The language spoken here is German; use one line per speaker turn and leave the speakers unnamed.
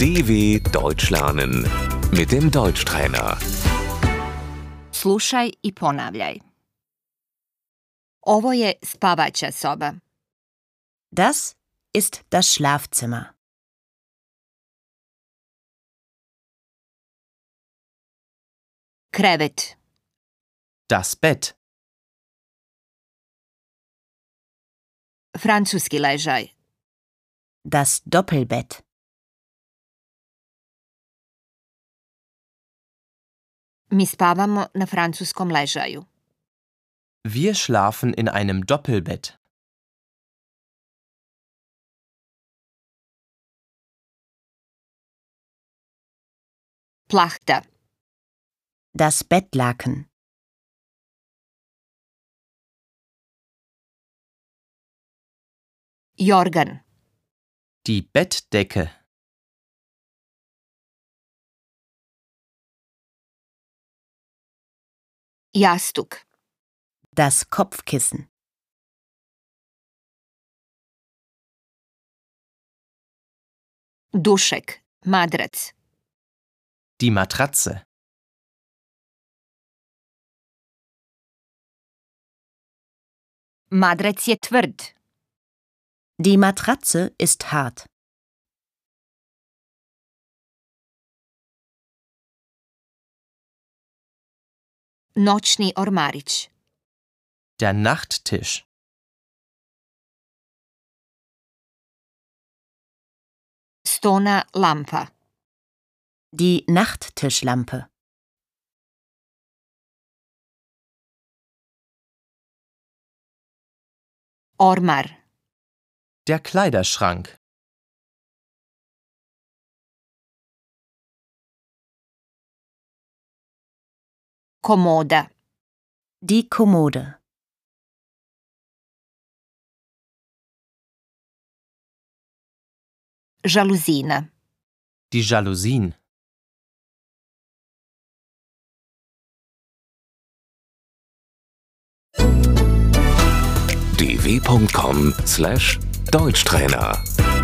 DW Deutsch lernen mit dem Deutschtrainer.
Slušaj i ponavljaj. Ovo je spavaća soba.
Das ist das Schlafzimmer.
Krevet.
Das Bett.
Francuski ležaj.
Das Doppelbett.
Mi spavamo na francuskom ležaju.
Wir schlafen in einem Doppelbett.
Plahta.
Das Bettlaken.
Jorgan.
Die Bettdecke.
Jastuk.
Das Kopfkissen.
Dušek. Madrac.
Die Matratze.
Madrac je tvrd.
Die Matratze ist hart.
Noćni ormarić.
Der Nachttisch.
Stona lampa.
Die Nachttischlampe.
Ormar.
Der Kleiderschrank.
Komoda.
Die Kommode.
Žaluzina.
Die Jalousien.
dw.com/deutschtrainer